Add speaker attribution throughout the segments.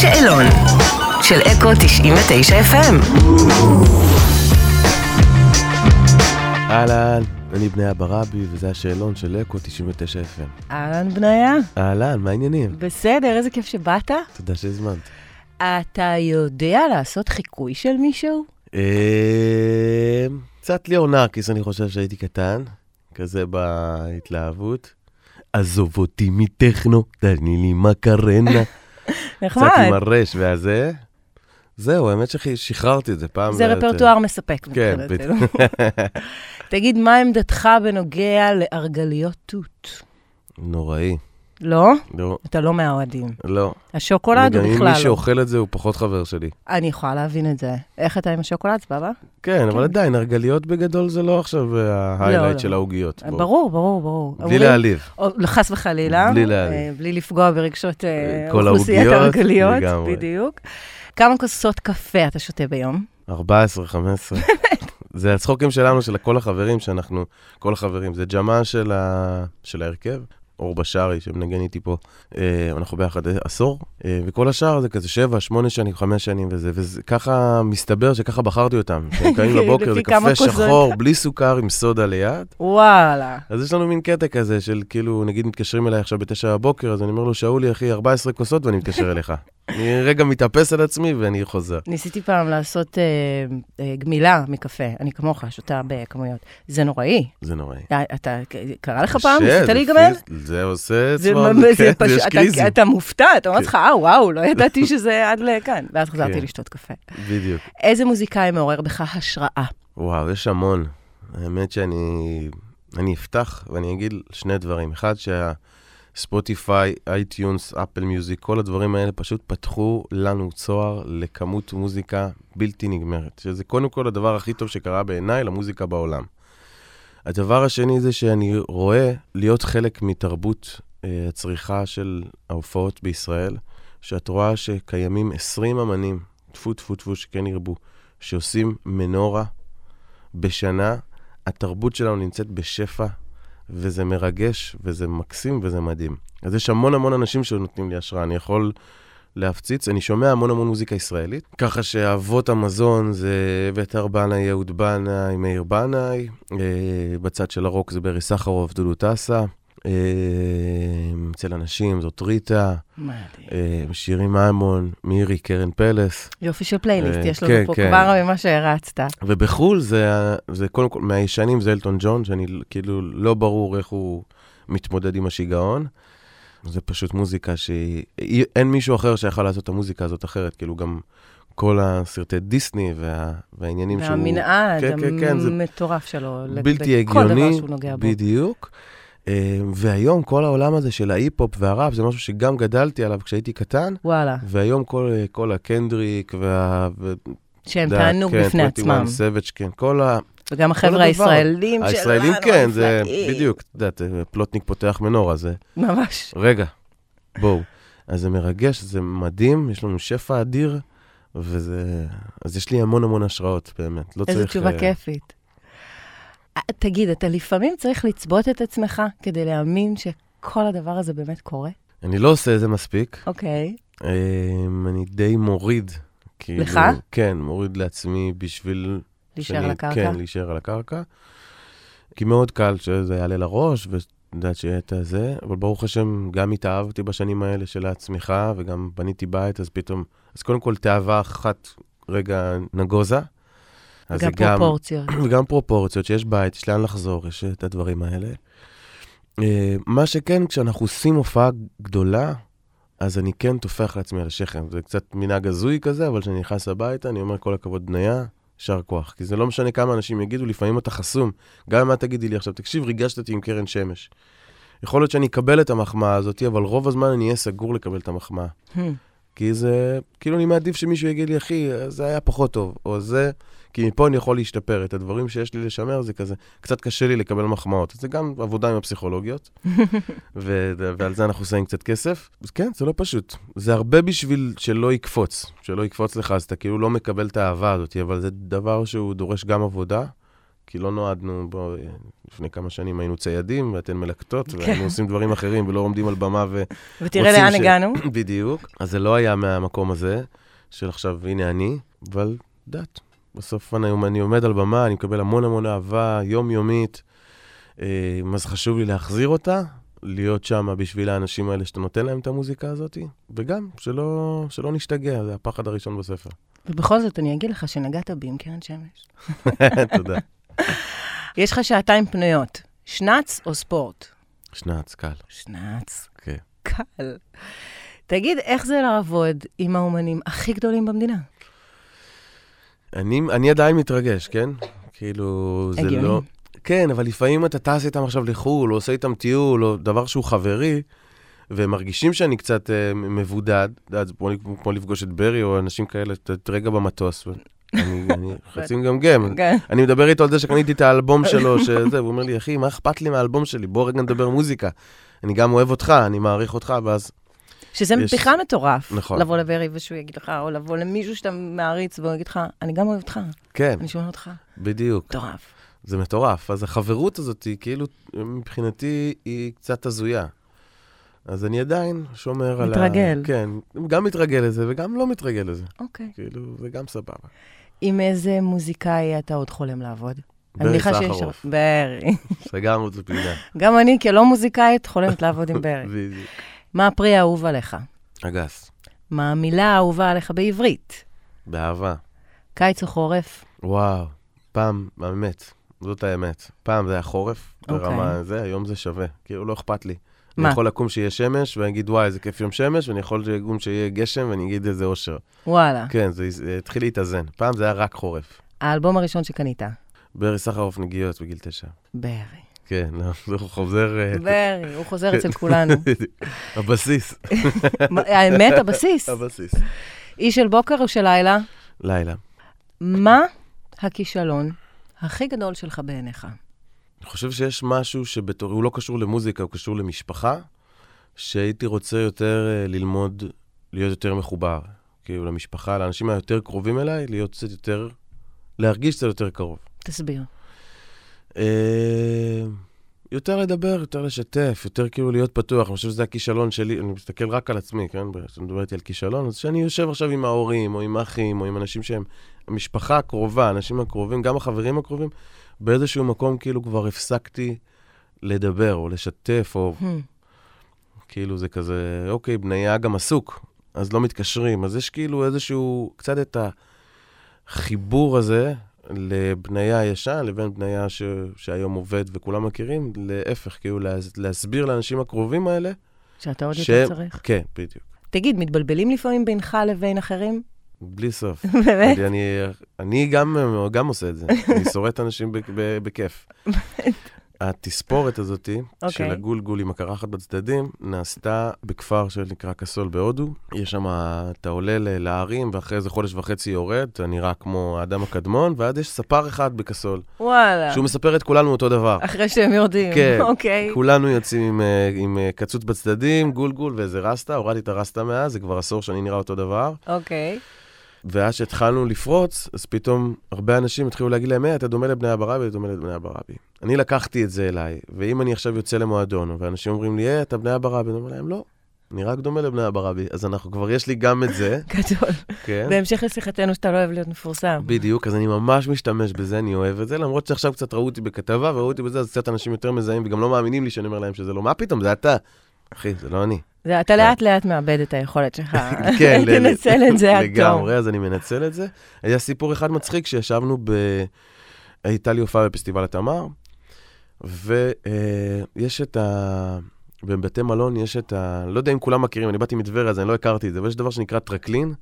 Speaker 1: שאלון של אקו 99 FM.
Speaker 2: אהלן, אני בני אברבי, וזה השאלון של אקו 99 FM.
Speaker 3: אהלן בניה,
Speaker 2: אהלן, מה העניינים?
Speaker 3: בסדר, איזה כיף שבאת.
Speaker 2: תודה שהזמנת.
Speaker 3: אתה יודע לעשות חיקוי של מישהו?
Speaker 2: אה, קצת ליאור נרקיס, אני חושב שהייתי קטן, כזה בהתלהבות. עזוב אותי מטכנו, תני לי מקרנה. קצת עם
Speaker 3: נחמד.
Speaker 2: הרש והזה. זהו, האמת ששחררתי את זה פעם.
Speaker 3: זה
Speaker 2: לא יותר.
Speaker 3: רפרטואר מספק
Speaker 2: כן,
Speaker 3: מבחינתנו. תגיד, מה עמדתך בנוגע לארגליות תות?
Speaker 2: נוראי.
Speaker 3: לא?
Speaker 2: לא,
Speaker 3: אתה לא מהאוהדים.
Speaker 2: לא.
Speaker 3: השוקולד הוא
Speaker 2: גם אם
Speaker 3: בכלל
Speaker 2: מי
Speaker 3: לא.
Speaker 2: שאוכל את זה הוא פחות חבר שלי.
Speaker 3: אני יכולה להבין את זה. איך אתה עם השוקולד, סבבה?
Speaker 2: כן, אבל עדיין, הרגליות בגדול זה לא עכשיו
Speaker 3: לא.
Speaker 2: ההיילייט של העוגיות. בואו.
Speaker 3: ברור, ברור, ברור.
Speaker 2: בלי
Speaker 3: אומרים-
Speaker 2: להעליב.
Speaker 3: או- חס וחלילה.
Speaker 2: בלי להעליב.
Speaker 3: אה, בלי לפגוע ברגשות אה,
Speaker 2: כל
Speaker 3: אוכלוסיית
Speaker 2: העוגיות,
Speaker 3: הרגליות.
Speaker 2: לגמרי.
Speaker 3: בדיוק. כמה כוסות קפה אתה שותה ביום?
Speaker 2: 14, 15. זה הצחוקים שלנו, של כל החברים שאנחנו, כל החברים. זה ג'מעה של, ה... של ההרכב, אור בשארי, שמנגן איתי פה, אה, אנחנו ביחד אה, עשור, אה, וכל השאר זה כזה 7, 8 שנים, 5 שנים וזה, וככה מסתבר שככה בחרתי אותם. הם קמים לבוקר, זה
Speaker 3: לפי כמה
Speaker 2: קפה
Speaker 3: כוסות.
Speaker 2: שחור, בלי סוכר, עם סודה ליד.
Speaker 3: וואלה.
Speaker 2: אז יש לנו מין קטע כזה של כאילו, נגיד מתקשרים אליי עכשיו בתשע בבוקר, אז אני אומר לו, שאולי אחי, 14 כוסות ואני מתקשר אליך. אני רגע מתאפס על עצמי ואני חוזר.
Speaker 3: ניסיתי פעם לעשות אה, אה, גמילה מקפה, אני כמוך, שותה בכמויות. זה נוראי.
Speaker 2: זה נוראי.
Speaker 3: אתה- אתה, קרה לך פעם?
Speaker 2: קשה,
Speaker 3: ניסית
Speaker 2: זה
Speaker 3: להיגמל?
Speaker 2: פיז- זה עושה
Speaker 3: זה
Speaker 2: צוואר,
Speaker 3: ממש, זה
Speaker 2: כן,
Speaker 3: פשוט,
Speaker 2: יש
Speaker 3: אתה-
Speaker 2: קריזים.
Speaker 3: אתה מופתע, אתה אומר
Speaker 2: כן.
Speaker 3: לך, אה, וואו, לא ידעתי שזה עד לכאן. ואז חזרתי
Speaker 2: כן.
Speaker 3: לשתות קפה.
Speaker 2: בדיוק.
Speaker 3: איזה מוזיקאי מעורר בך השראה?
Speaker 2: וואו, יש המון. האמת שאני... אני אפתח ואני אגיד שני דברים. אחד, שהספוטיפיי, אייטיונס, אפל מיוזיק, כל הדברים האלה פשוט פתחו לנו צוהר לכמות מוזיקה בלתי נגמרת. שזה קודם כל הדבר הכי טוב שקרה בעיניי למוזיקה בעולם. הדבר השני זה שאני רואה להיות חלק מתרבות אה, הצריכה של ההופעות בישראל, שאת רואה שקיימים 20 אמנים, טפו טפו טפו שכן ירבו, שעושים מנורה בשנה, התרבות שלנו נמצאת בשפע, וזה מרגש, וזה מקסים, וזה מדהים. אז יש המון המון אנשים שנותנים לי השראה, אני יכול להפציץ, אני שומע המון המון מוזיקה ישראלית, ככה שאבות המזון זה אביתר בנאי, אהוד בנאי, מאיר בנאי, אה, בצד של הרוק זה ברי סחרוף, דודו טסה. אה, אצל אנשים זאת ריטה,
Speaker 3: מדהים.
Speaker 2: אה, שירי מימון, מירי, קרן פלס.
Speaker 3: יופי של פלייליסט,
Speaker 2: אה,
Speaker 3: יש לנו
Speaker 2: כן,
Speaker 3: פה
Speaker 2: כן.
Speaker 3: כבר ממה שהרצת.
Speaker 2: ובחו"ל זה, ה- זה קודם כל, מהישנים זה אלטון ג'ון, שאני כאילו לא ברור איך הוא מתמודד עם השיגעון. זה פשוט מוזיקה שהיא, אי- אין מישהו אחר שיכל לעשות את המוזיקה הזאת אחרת, כאילו גם כל הסרטי דיסני וה, והעניינים שהוא...
Speaker 3: והמנעד
Speaker 2: כן, כן, כן, זה
Speaker 3: המטורף שלו. לג-
Speaker 2: בלתי
Speaker 3: בכל דבר
Speaker 2: הגיוני,
Speaker 3: שהוא נוגע בו.
Speaker 2: בדיוק. אה, והיום כל העולם הזה של ההיפ-הופ והראפ זה משהו שגם גדלתי עליו כשהייתי קטן,
Speaker 3: וואלה,
Speaker 2: והיום כל, כל הקנדריק וה... ו-
Speaker 3: שהם
Speaker 2: דה-
Speaker 3: תענוג
Speaker 2: כן,
Speaker 3: בפני
Speaker 2: 21
Speaker 3: עצמם.
Speaker 2: Savage, כן, כל ה...
Speaker 3: וגם
Speaker 2: כל
Speaker 3: החבר'ה
Speaker 2: הדבר.
Speaker 3: הישראלים שלנו,
Speaker 2: הישראלים כן, זה
Speaker 3: הנפלאים.
Speaker 2: בדיוק, את יודעת, אה, פלוטניק פותח מנורה, זה
Speaker 3: ממש.
Speaker 2: רגע, בואו. אז זה מרגש, זה מדהים, יש לנו שפע אדיר, וזה... אז יש לי המון המון השראות, באמת. לא
Speaker 3: איזו
Speaker 2: צריך...
Speaker 3: תשובה
Speaker 2: אה,
Speaker 3: כיפית. אה, תגיד, אתה לפעמים צריך לצבות את עצמך כדי להאמין שכל הדבר הזה באמת קורה?
Speaker 2: אני לא עושה את זה מספיק.
Speaker 3: אוקיי.
Speaker 2: אה, אני די מוריד. כאילו,
Speaker 3: לך?
Speaker 2: כן, מוריד לעצמי בשביל
Speaker 3: להישאר על
Speaker 2: שאני-
Speaker 3: הקרקע?
Speaker 2: כן, להישאר על הקרקע. כי מאוד קל שזה יעלה לראש, ואת יודעת שיהיה את הזה, אבל ברוך השם, גם התאהבתי בשנים האלה של הצמיחה, וגם בניתי בית, אז פתאום, אז קודם כל תאווה אחת רגע נגוזה. אז זה
Speaker 3: גם פרופורציות.
Speaker 2: וגם פרופורציות, שיש בית, יש לאן לחזור, יש את הדברים האלה. אה, מה שכן, כשאנחנו עושים הופעה גדולה, אז אני כן טופח לעצמי על השכם. זה קצת מנהג הזוי כזה, אבל כשאני נכנס הביתה, אני אומר כל הכבוד בניה, יישר כוח. כי זה לא משנה כמה אנשים יגידו, לפעמים אתה חסום. גם אם את תגידי לי עכשיו, תקשיב, ריגשת אותי עם קרן שמש. יכול להיות שאני אקבל את המחמאה הזאת, אבל רוב הזמן אני אהיה סגור לקבל את המחמאה.
Speaker 3: הם.
Speaker 2: כי זה, כאילו אני מעדיף שמישהו יגיד לי, אחי, זה היה פחות טוב, או זה, כי מפה אני יכול להשתפר. את הדברים שיש לי לשמר זה כזה, קצת קשה לי לקבל מחמאות. זה גם עבודה עם הפסיכולוגיות, ו- ועל זה אנחנו עושים קצת כסף. אז כן, זה לא פשוט. זה הרבה בשביל שלא יקפוץ. שלא יקפוץ לך, אז אתה כאילו לא מקבל את האהבה הזאת, אבל זה דבר שהוא דורש גם עבודה. כי לא נועדנו, בוא, אה, לפני כמה שנים היינו ציידים ואתן מלקטות, והיינו עושים דברים אחרים ולא עומדים על במה ו...
Speaker 3: Hmm. ותראה
Speaker 2: רוצים
Speaker 3: לאן
Speaker 2: ש-
Speaker 3: הגענו.
Speaker 2: בדיוק. אז זה לא היה מהמקום הזה, של עכשיו, הנה אני, אבל דת. בסוף אני, אני עומד על במה, אני מקבל המון המון אהבה יומיומית, אה, אז חשוב לי להחזיר אותה, להיות שם בשביל האנשים האלה שאתה נותן להם את המוזיקה הזאת, וגם, שלא, שלא נשתגע, זה הפחד הראשון בספר.
Speaker 3: ובכל זאת, אני אגיד לך שנגעת בי עם קרן שמש.
Speaker 2: תודה.
Speaker 3: יש לך שעתיים פנויות, שנץ או ספורט?
Speaker 2: שנץ, קל.
Speaker 3: שנץ.
Speaker 2: כן.
Speaker 3: קל. תגיד, איך זה לעבוד עם האומנים הכי גדולים במדינה?
Speaker 2: אני, אני עדיין מתרגש, כן? כאילו, זה
Speaker 3: הגיוני.
Speaker 2: לא... כן, אבל לפעמים אתה טס איתם עכשיו לחו"ל, או עושה איתם טיול, או דבר שהוא חברי, והם מרגישים שאני קצת אה, מבודד, את יודעת, זה כמו, כמו לפגוש את ברי או אנשים כאלה, אתה את רגע במטוס, ואני אני חצי מגמגם.
Speaker 3: כן.
Speaker 2: אני מדבר איתו על זה שקניתי את האלבום שלו, שזה, והוא אומר לי, אחי, מה אכפת לי מהאלבום שלי? בוא רגע נדבר מוזיקה. אני גם אוהב אותך, אני מעריך אותך, ואז
Speaker 3: שזה
Speaker 2: יש-
Speaker 3: בכלל מטורף.
Speaker 2: נכון.
Speaker 3: לבוא לברי ושהוא יגיד לך, או לבוא למישהו שאתה מעריץ והוא יגיד לך, אני גם אוהב אותך,
Speaker 2: כן,
Speaker 3: אני שומע אותך.
Speaker 2: בדיוק.
Speaker 3: מטורף.
Speaker 2: זה מטורף. אז החברות הזאת היא כאילו, מבחינתי, היא קצת הזויה. אז אני עדיין שומר על ה...
Speaker 3: מתרגל.
Speaker 2: כן, גם מתרגל לזה וגם לא מתרגל לזה.
Speaker 3: אוקיי.
Speaker 2: כאילו, זה גם סבבה.
Speaker 3: עם איזה מוזיקאי אתה עוד חולם לעבוד? אני
Speaker 2: ברי
Speaker 3: מניחה שיש-
Speaker 2: סחרוף.
Speaker 3: ברי.
Speaker 2: סגרנו את הפינה.
Speaker 3: גם אני, כלא מוזיקאית, חולמת לעבוד עם ברי.
Speaker 2: בדיוק.
Speaker 3: מה הפרי האהוב עליך?
Speaker 2: אגס,
Speaker 3: מה המילה האהובה עליך בעברית?
Speaker 2: באהבה.
Speaker 3: קיץ או חורף?
Speaker 2: וואו, פעם, האמת, זאת האמת. פעם זה היה חורף,
Speaker 3: אוקיי.
Speaker 2: ברמה זה, היום זה שווה. כאילו, לא אכפת לי.
Speaker 3: מה?
Speaker 2: אני יכול לקום שיהיה שמש, ואני אגיד, וואי, איזה כיף יום שמש, ואני יכול לקום שיהיה גשם, ואני אגיד איזה אושר.
Speaker 3: וואלה.
Speaker 2: כן, זה זה התחיל להתאזן. פעם זה היה רק חורף.
Speaker 3: האלבום הראשון שקנית?
Speaker 2: ברי סחרוף נגיעות בגיל תשע.
Speaker 3: ברי.
Speaker 2: כן, לא, זה חוזר... אה,
Speaker 3: ברי, הוא חוזר אצל כולנו.
Speaker 2: הבסיס.
Speaker 3: האמת, הבסיס.
Speaker 2: הבסיס.
Speaker 3: איש של בוקר או של לילה?
Speaker 2: לילה.
Speaker 3: מה הכישלון הכי גדול שלך בעיניך?
Speaker 2: אני חושב שיש משהו שבתור... הוא לא קשור למוזיקה, הוא קשור למשפחה, שהייתי רוצה יותר אה, ללמוד, להיות יותר מחובר. כאילו, למשפחה, לאנשים היותר קרובים אליי, להיות קצת יותר... להרגיש קצת יותר קרוב.
Speaker 3: תסביר.
Speaker 2: אה, יותר לדבר, יותר לשתף, יותר כאילו להיות פתוח. אני חושב שזה הכישלון שלי, אני מסתכל רק על עצמי, כן? כשאתה מדבר איתי על כישלון, אז שאני יושב עכשיו עם ההורים, או עם האחים, או עם אנשים שהם... המשפחה הקרובה, האנשים הקרובים, גם החברים הקרובים, באיזשהו מקום כאילו כבר הפסקתי לדבר, או לשתף, או
Speaker 3: Hmm.
Speaker 2: כאילו זה כזה, אוקיי, בניה גם עסוק, אז לא מתקשרים. אז יש כאילו איזשהו, קצת את החיבור הזה לבניה הישן לבין בניה ש... שהיום עובד וכולם מכירים, להפך, כאילו להס... להסביר לאנשים הקרובים האלה.
Speaker 3: שאתה עוד
Speaker 2: ש-
Speaker 3: יותר צריך.
Speaker 2: כן, בדיוק.
Speaker 3: תגיד, מתבלבלים לפעמים בינך לבין אחרים?
Speaker 2: בלי סוף.
Speaker 3: באמת?
Speaker 2: אני, אני, אני גם, גם עושה את זה, אני שורט אנשים ב, ב, בכיף. התספורת הזאת, okay.
Speaker 3: אוקיי.
Speaker 2: של הגולגול עם הקרחת בצדדים, נעשתה בכפר שנקרא קסול בהודו. יש שם, אתה עולה ל- להרים, ואחרי איזה חודש וחצי יורד, אתה נראה כמו האדם הקדמון, ואז יש ספר אחד בקסול,
Speaker 3: וואלה.
Speaker 2: שהוא מספר את כולנו אותו דבר.
Speaker 3: אחרי שהם יורדים.
Speaker 2: כן,
Speaker 3: אוקיי.
Speaker 2: כולנו יוצאים עם, אה, עם אה, קצוץ בצדדים, גולגול ואיזה רסטה, הורדתי את הרסטה מאז, זה כבר עשור שאני נראה אותו דבר.
Speaker 3: אוקיי.
Speaker 2: ואז שהתחלנו לפרוץ, אז פתאום הרבה אנשים התחילו להגיד להם, היי, אתה דומה לבני הברבי, אתה דומה לבני הברבי. אני לקחתי את זה אליי, ואם אני עכשיו יוצא למועדון, ואנשים אומרים לי, היי, אתה בני הברבי, אני אומר להם, לא, אני רק דומה לבני הברבי. אז אנחנו, כבר יש לי גם את זה,
Speaker 3: גדול.
Speaker 2: כן,
Speaker 3: בהמשך לשיחתנו שאתה לא אוהב להיות מפורסם.
Speaker 2: בדיוק, אז אני ממש משתמש בזה, אני אוהב את זה, למרות שעכשיו קצת ראו אותי בכתבה, וראו אותי בזה, אז קצת אנשים יותר מזהים, וגם לא מאמינים לי שאני אומר להם שזה לא, מה פתאום, זה אתה. אחי, זה לא אני.
Speaker 3: זה- אתה לאט-לאט מאבד את היכולת שלך.
Speaker 2: כן, ל-
Speaker 3: תנצל את זה עד תום.
Speaker 2: לגמרי, אז אני מנצל את זה. היה סיפור אחד מצחיק שישבנו ב... הייתה לי הופעה בפסטיבל התמר, ויש את ה... בבתי מלון יש את ה... לא יודע אם כולם מכירים, אני באתי מטבריה, אז אני לא הכרתי את זה, אבל יש דבר שנקרא טרקלין.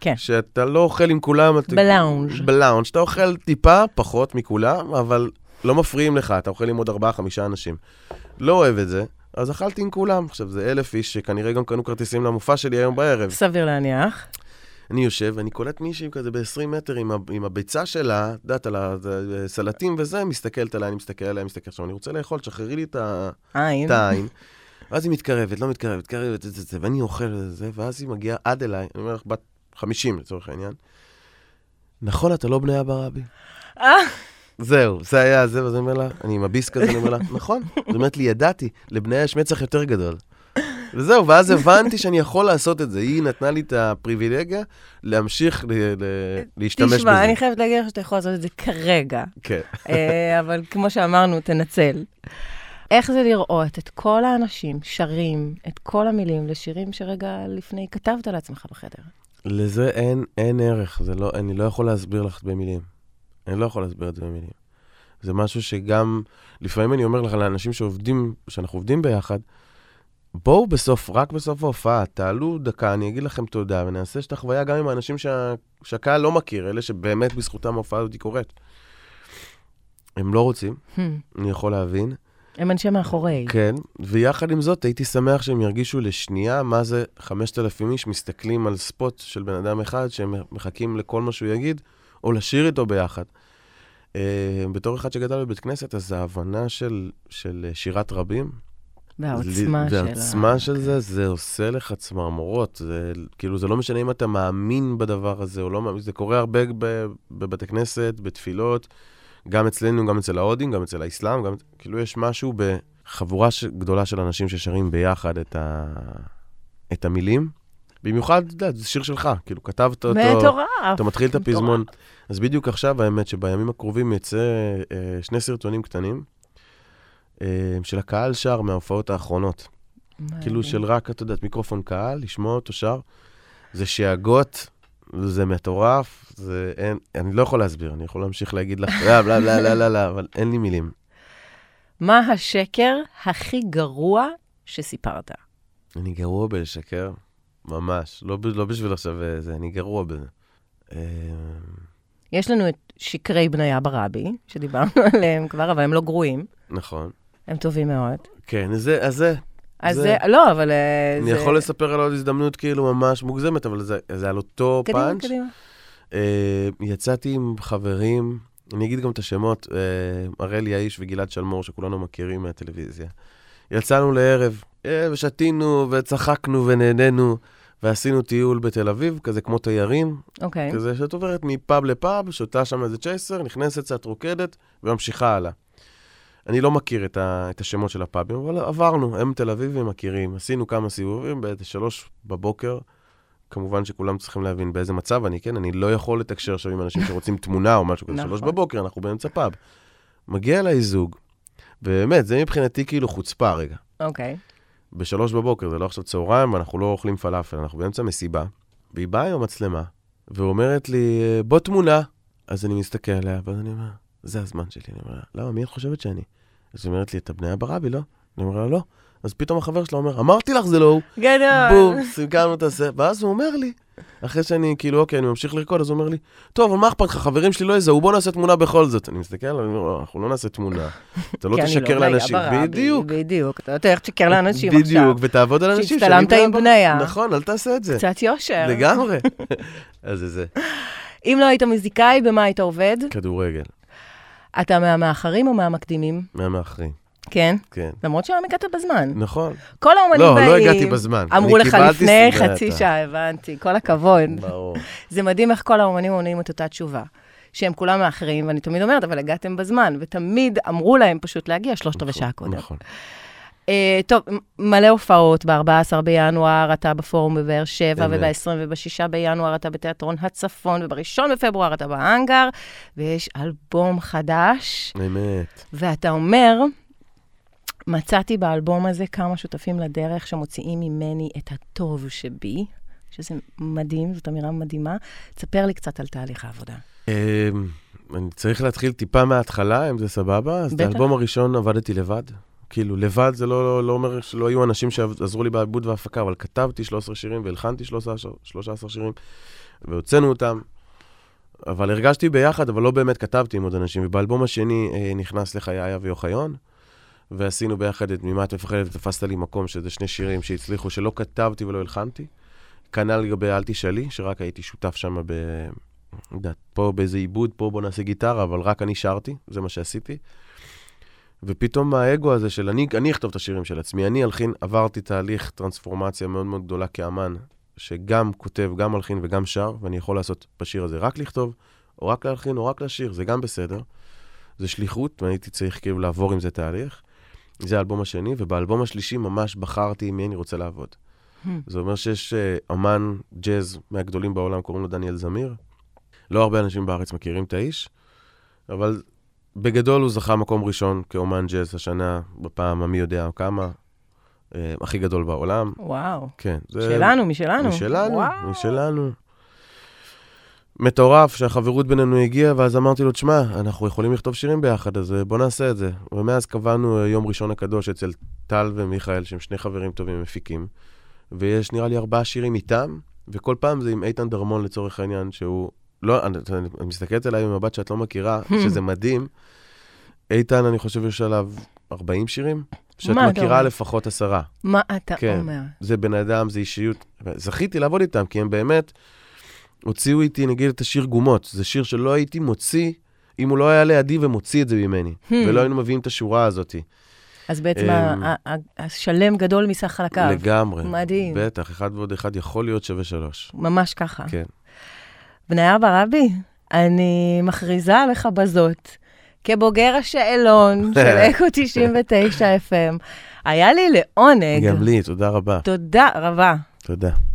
Speaker 3: כן.
Speaker 2: שאתה לא אוכל עם כולם. אתה-
Speaker 3: בלאונג'.
Speaker 2: בלאונג'. אתה אוכל טיפה פחות מכולם, אבל לא מפריעים לך, אתה אוכל עם עוד ארבעה, חמישה אנשים. לא אוהב את זה, אז אכלתי עם כולם. עכשיו, זה אלף איש שכנראה גם קנו כרטיסים למופע שלי היום בערב.
Speaker 3: סביר להניח.
Speaker 2: אני יושב, ואני קולט מישהי כזה ב-20 מטר עם, ה- עם הביצה שלה, את יודעת, על הסלטים וזה, מסתכלת עליי, אני מסתכל עליה, מסתכל עכשיו, אני רוצה לאכול, תשחררי לי את ה-
Speaker 3: עין.
Speaker 2: את העין. ואז היא מתקרבת, לא מתקרבת, מתקרבת, זה, זה, זה, ואני אוכל את זה, ואז היא מגיעה עד אליי, אני אומר לך, בת 50 לצורך העניין. נכון, אתה לא בני אבא רבי.
Speaker 3: אה,
Speaker 2: זהו, זה היה זה, ואז אני אומר לה, אני עם הביס כזה, אני אומר לה, נכון. זאת אומרת לי, ידעתי, לבניה יש מצח יותר גדול. וזהו, ואז הבנתי שאני יכול לעשות את זה. היא נתנה לי את הפריבילגיה להמשיך ל- ל- להשתמש בזה.
Speaker 3: תשמע, אני חייבת להגיד לך שאתה יכול לעשות את זה כרגע,
Speaker 2: כן.
Speaker 3: אה, אבל כמו שאמרנו, תנצל. איך זה לראות את כל האנשים שרים את כל המילים לשירים שרגע לפני כתבת לעצמך בחדר?
Speaker 2: לזה אין, אין ערך, זה לא, אני לא יכול להסביר לך במילים. אני לא יכול להסביר את זה במילים. זה משהו שגם, לפעמים אני אומר לך לאנשים שעובדים, שאנחנו עובדים ביחד, בואו בסוף, רק בסוף ההופעה, תעלו דקה, אני אגיד לכם תודה, ונעשה את החוויה גם עם האנשים שה, שהקהל לא מכיר, אלה שבאמת בזכותם ההופעה הזאת קורית. הם לא רוצים,
Speaker 3: הם,
Speaker 2: אני יכול להבין.
Speaker 3: הם אנשי מאחורי.
Speaker 2: כן, ויחד עם זאת, הייתי שמח שהם ירגישו לשנייה מה זה 5,000 איש מסתכלים על ספוט של בן אדם אחד, שהם מחכים לכל מה שהוא יגיד, או לשיר איתו ביחד. אה, בתור אחד שגדל בבית כנסת, אז ההבנה של, של אה, שירת רבים,
Speaker 3: והעוצמה
Speaker 2: לי-
Speaker 3: שלה.
Speaker 2: והעוצמה של זה, זה עושה לך צמרמורות. זה, כאילו, זה לא משנה אם אתה מאמין בדבר הזה או לא מאמין, זה קורה הרבה ב- בבתי כנסת, בתפילות, גם אצלנו, גם אצל ההודים, גם אצל האסלאם, גם... כאילו, יש משהו בחבורה ש... גדולה של אנשים ששרים ביחד את, ה... את המילים. במיוחד, אתה יודע, זה שיר שלך, כאילו, כתבת אותו.
Speaker 3: מטורף.
Speaker 2: אתה מתחיל את
Speaker 3: אוקיי, מטורף.
Speaker 2: הפזמון. אז בדיוק עכשיו, האמת, שבימים הקרובים יצא אה, שני סרטונים קטנים אה, של הקהל שר מההופעות האחרונות.
Speaker 3: מדהים.
Speaker 2: כאילו של רק, את יודעת, מיקרופון קהל, לשמוע אותו שר. זה שאגות, זה מטורף, זה אין, אני לא יכול להסביר, אני יכול להמשיך להגיד לך, לא, לא, לא, לא, לא, לא, אבל אין לי מילים.
Speaker 3: מה השקר הכי גרוע שסיפרת?
Speaker 2: אני גרוע בלשקר, ממש. לא, ב- לא בשביל עכשיו אה, זה, אני גרוע בזה. אה,
Speaker 3: יש לנו את שקרי בניה ברבי, שדיברנו עליהם כבר, אבל הם לא גרועים,
Speaker 2: נכון.
Speaker 3: הם טובים מאוד.
Speaker 2: כן, אז זה, אז זה,
Speaker 3: אז
Speaker 2: זה-
Speaker 3: זה, לא, אבל אה,
Speaker 2: אני
Speaker 3: זה...
Speaker 2: יכול לספר על עוד הזדמנות כאילו ממש מוגזמת, אבל זה, זה על אותו
Speaker 3: קדימה,
Speaker 2: פאנץ'.
Speaker 3: קדימה.
Speaker 2: אה, יצאתי עם חברים, אני אגיד גם את השמות, אה, הראל יעיש וגלעד שלמור, שכולנו מכירים מהטלוויזיה. יצאנו לערב, אה, ושתינו, וצחקנו, ונהנינו, ועשינו טיול בתל אביב, כזה כמו תיירים,
Speaker 3: אוקיי.
Speaker 2: כזה שאת עוברת מפאב לפאב, שותה שם איזה צ'ייסר, נכנסת קצת רוקדת, וממשיכה הלאה. אני לא מכיר את, ה, את השמות של הפאבים, אבל עברנו, הם תל אביבים מכירים. עשינו כמה סיבובים, באיזה שלוש בבוקר, כמובן שכולם צריכים להבין באיזה מצב אני, כן? אני לא יכול לתקשר עכשיו עם אנשים שרוצים תמונה או משהו כזה, שלוש
Speaker 3: נכון.
Speaker 2: בבוקר, אנחנו באמצע פאב. מגיע אליי זוג, ובאמת, זה מבחינתי כאילו חוצפה רגע.
Speaker 3: אוקיי.
Speaker 2: בשלוש בבוקר, זה לא עכשיו צהריים, ואנחנו לא אוכלים פלאפל, אנחנו באמצע מסיבה. והיא באה עם המצלמה, ואומרת לי, בוא תמונה. אז אני מסתכל עליה, ואז אני אומר, זה הזמן שלי. אני אומר לה, למה, מי את חושבת שאני? אז היא אומרת לי, אתה בני אברבי, לא? אני אומר לה, לא. אז פתאום החבר שלו אומר, אמרתי לך, זה לא הוא.
Speaker 3: גדול.
Speaker 2: בום, סיכמנו את הזה. ואז הוא אומר לי, אחרי שאני, כאילו, אוקיי, אני ממשיך לרקוד, אז הוא אומר לי, טוב, אבל מה אכפת לך, חברים שלי לא יזהו, בוא נעשה תמונה בכל זאת. אני מסתכל עליו, אני אומר, "לא, אנחנו לא נעשה תמונה. אתה לא
Speaker 3: כי אני
Speaker 2: תשקר
Speaker 3: בניה
Speaker 2: לאנשים.
Speaker 3: ברבי,
Speaker 2: בדיוק.
Speaker 3: בדיוק. אתה יודע איך תשקר לאנשים עכשיו.
Speaker 2: בדיוק, ותעבוד על אנשים. שאני
Speaker 3: שהצטלמת
Speaker 2: בן
Speaker 3: עם
Speaker 2: אדם.
Speaker 3: בניה.
Speaker 2: נכון, אל תעשה את זה.
Speaker 3: קצת יושר.
Speaker 2: לגמרי. אז זה זה.
Speaker 3: אם לא היית מוזיקאי, במה היית עובד?
Speaker 2: כדורגל,
Speaker 3: אתה מהמאחרים או מהמקדימים?
Speaker 2: מהמאחרים,
Speaker 3: כן.
Speaker 2: כן.
Speaker 3: למרות שהיום הגעת בזמן.
Speaker 2: נכון.
Speaker 3: כל האומנים
Speaker 2: לא,
Speaker 3: באים.
Speaker 2: לא הגעתי בזמן.
Speaker 3: אמרו
Speaker 2: אני
Speaker 3: לך
Speaker 2: קיבלתי
Speaker 3: לפני
Speaker 2: סדרה,
Speaker 3: חצי
Speaker 2: אתה.
Speaker 3: שעה, הבנתי, כל הכבוד.
Speaker 2: ברור.
Speaker 3: זה מדהים איך כל האומנים עונים את אותה תשובה. שהם כולם מאחרים, ואני תמיד אומרת, אבל הגעתם בזמן, ותמיד אמרו להם פשוט להגיע שלושת רבעי שעה קודם.
Speaker 2: נכון.
Speaker 3: אה, טוב, מ- מלא הופעות, ב-14 בינואר אתה בפורום בבאר שבע,
Speaker 2: אמת.
Speaker 3: וב-20 וב-6 בינואר אתה בתיאטרון הצפון, וב-1 בפברואר אתה בהאנגר, ויש אלבום חדש,
Speaker 2: אמת.
Speaker 3: ואתה אומר, מצאתי באלבום הזה כמה שותפים לדרך שמוציאים ממני את הטוב שבי, שזה מדהים, זאת אמירה מדהימה. תספר לי קצת על תהליך העבודה.
Speaker 2: אמ, אני צריך להתחיל טיפה מההתחלה, אם זה סבבה. אז
Speaker 3: בטח.
Speaker 2: באלבום הראשון עבדתי לבד. כאילו, לבד זה לא, לא, לא אומר שלא היו אנשים שעזרו לי בעיבוד והפקה, אבל כתבתי 13 שירים והלחנתי 13, 13 שירים, והוצאנו אותם. אבל הרגשתי ביחד, אבל לא באמת כתבתי עם עוד אנשים. ובאלבום השני אה, נכנס לחיי אבי אוחיון, ועשינו ביחד את ממה את מפחדת ותפסת לי מקום, שזה שני שירים שהצליחו, שלא כתבתי ולא הלחנתי. כנ"ל לגבי אל תשאלי, שרק הייתי שותף שם ב... יודעת, פה באיזה עיבוד, פה בוא נעשה גיטרה, אבל רק אני שרתי, זה מה שעשיתי. ופתאום האגו הזה של אני, אני אכתוב את השירים של עצמי, אני אלחין, עברתי תהליך טרנספורמציה מאוד מאוד גדולה כאמן, שגם כותב, גם מלחין וגם שר, ואני יכול לעשות בשיר הזה רק לכתוב, או רק להלחין, או רק לשיר, זה גם בסדר. זה שליחות, והייתי צריך כאילו לעבור עם זה תהליך. זה האלבום השני, ובאלבום השלישי ממש בחרתי עם מי אני רוצה לעבוד.
Speaker 3: Hmm.
Speaker 2: זה אומר שיש אה, אמן ג'אז מהגדולים בעולם, קוראים לו דניאל זמיר. לא הרבה אנשים בארץ מכירים את האיש, אבל בגדול הוא זכה מקום ראשון כאומן ג'אז השנה, בפעם המי יודע כמה, אה, הכי גדול בעולם.
Speaker 3: וואו.
Speaker 2: כן. זה...
Speaker 3: שלנו, משלנו.
Speaker 2: משלנו,
Speaker 3: וואו.
Speaker 2: משלנו. מטורף שהחברות בינינו הגיעה, ואז אמרתי לו, תשמע, אנחנו יכולים לכתוב שירים ביחד, אז אה, בוא נעשה את זה. ומאז קבענו אה, יום ראשון הקדוש אצל טל ומיכאל, שהם שני חברים טובים מפיקים, ויש נראה לי ארבעה שירים איתם, וכל פעם זה עם איתן דרמון לצורך העניין, שהוא... לא, אני, אני אני מסתכלת עליי במבט שאת לא מכירה, שזה מדהים. איתן, אני חושב, יש עליו 40 שירים, שאת
Speaker 3: מה אתה
Speaker 2: מכירה
Speaker 3: אומר?
Speaker 2: לפחות עשרה.
Speaker 3: מה אתה
Speaker 2: כן.
Speaker 3: אומר?
Speaker 2: זה בן אדם, זה אישיות. זכיתי לעבוד איתם, כי הם באמת הוציאו איתי, נגיד, את השיר גומות. זה שיר שלא הייתי מוציא, אם הוא לא היה לידי ומוציא את זה ממני.
Speaker 3: Hmm.
Speaker 2: ולא היינו מביאים את השורה הזאת.
Speaker 3: אז בעצם
Speaker 2: אמ,
Speaker 3: ה- ה- ה- השלם גדול מסך חלקיו.
Speaker 2: לגמרי.
Speaker 3: מדהים. אה.
Speaker 2: בטח, אחד ועוד אחד יכול להיות שווה שלוש.
Speaker 3: ממש ככה.
Speaker 2: כן.
Speaker 3: בניה ברבי, אני מכריזה עליך בזאת, כבוגר השאלון של אקו 99 FM. היה לי לעונג.
Speaker 2: גם לי, תודה רבה.
Speaker 3: תודה רבה.
Speaker 2: תודה.